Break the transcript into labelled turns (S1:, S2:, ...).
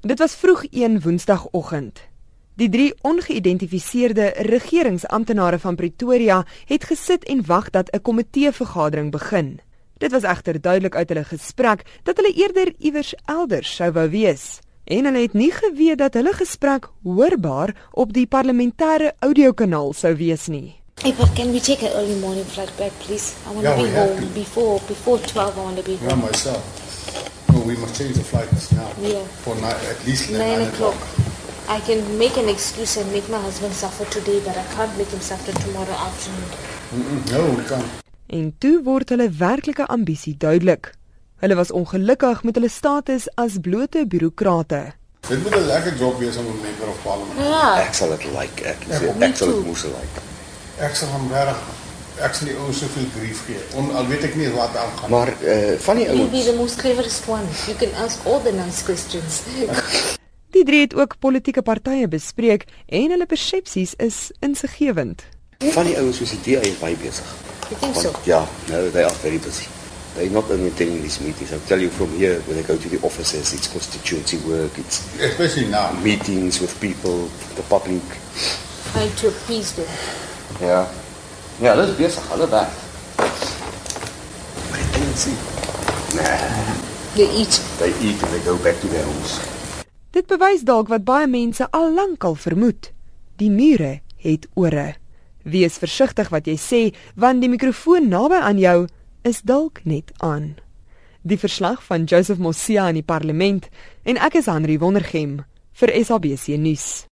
S1: Dit was vroeg een Woensdagoggend. Die drie ongeïdentifiseerde regeringsamptenare van Pretoria het gesit en wag dat 'n komiteevergadering begin. Dit was egter duidelik uit hulle gesprek dat hulle eerder iewers elders sou wou wees en hulle het nie geweet dat hulle gesprek hoorbaar op die parlementêre audiokanaal sou wees nie.
S2: Hey, but can we take an early morning flight back, please? I want
S3: Yeah,
S2: to
S3: we
S2: be
S3: have
S2: home
S3: to.
S2: before before twelve. I want to be
S3: Yeah,
S2: home.
S3: myself. No, we must change the flights now.
S2: Yeah.
S3: For ni- at least
S2: Nine o'clock. I can make an excuse and make my husband suffer today, but I can't make him suffer tomorrow afternoon.
S3: Mm-mm, no, we can't.
S1: En toe word hulle werklike ambisie duidelik. Hulle was ongelukkig met hulle status as blote bureaukrate.
S3: Dit moet 'n lekker job wees om 'n member of parliament.
S2: Yeah.
S4: Ek sal dit like. Ek
S3: Ja,
S4: ek,
S2: me
S4: ek sal
S2: too.
S4: dit moes like.
S3: Ek sal hom reg ek sal die ou soveel grief gee. On al weet ek nie wat aangaan.
S4: Maar uh van die
S2: You'll be
S4: ouens
S2: the most cleverest one. You can ask all the nice questions.
S1: Die drie het ook politieke partye bespreek en hulle persepsies is insiggewend.
S4: van die ouens soos die DA is baie besig.
S2: You think so?
S4: ja, no, they are very busy. They're not only attending these meetings. I'll tell you from here when I go to the offices, it's constituency work, it's
S3: Especially now.
S4: meetings with people, the public.
S2: Trying to appease them.
S4: Ja. Ja, hulle is besig, hulle werk. Maar ek kan dit sien. Nee,
S2: They eat.
S4: they eat and they go back to their homes.
S1: Dit bewys dalk wat baie mense al lank al vermoed. Die mure het ore. Wees versigtig wat jy sê, want die mikrofoon naby aan jou is dalk net aan. Die verslag van Joseph Mosia in die parlement en ek is Henri Wondergem vir SABC nuus.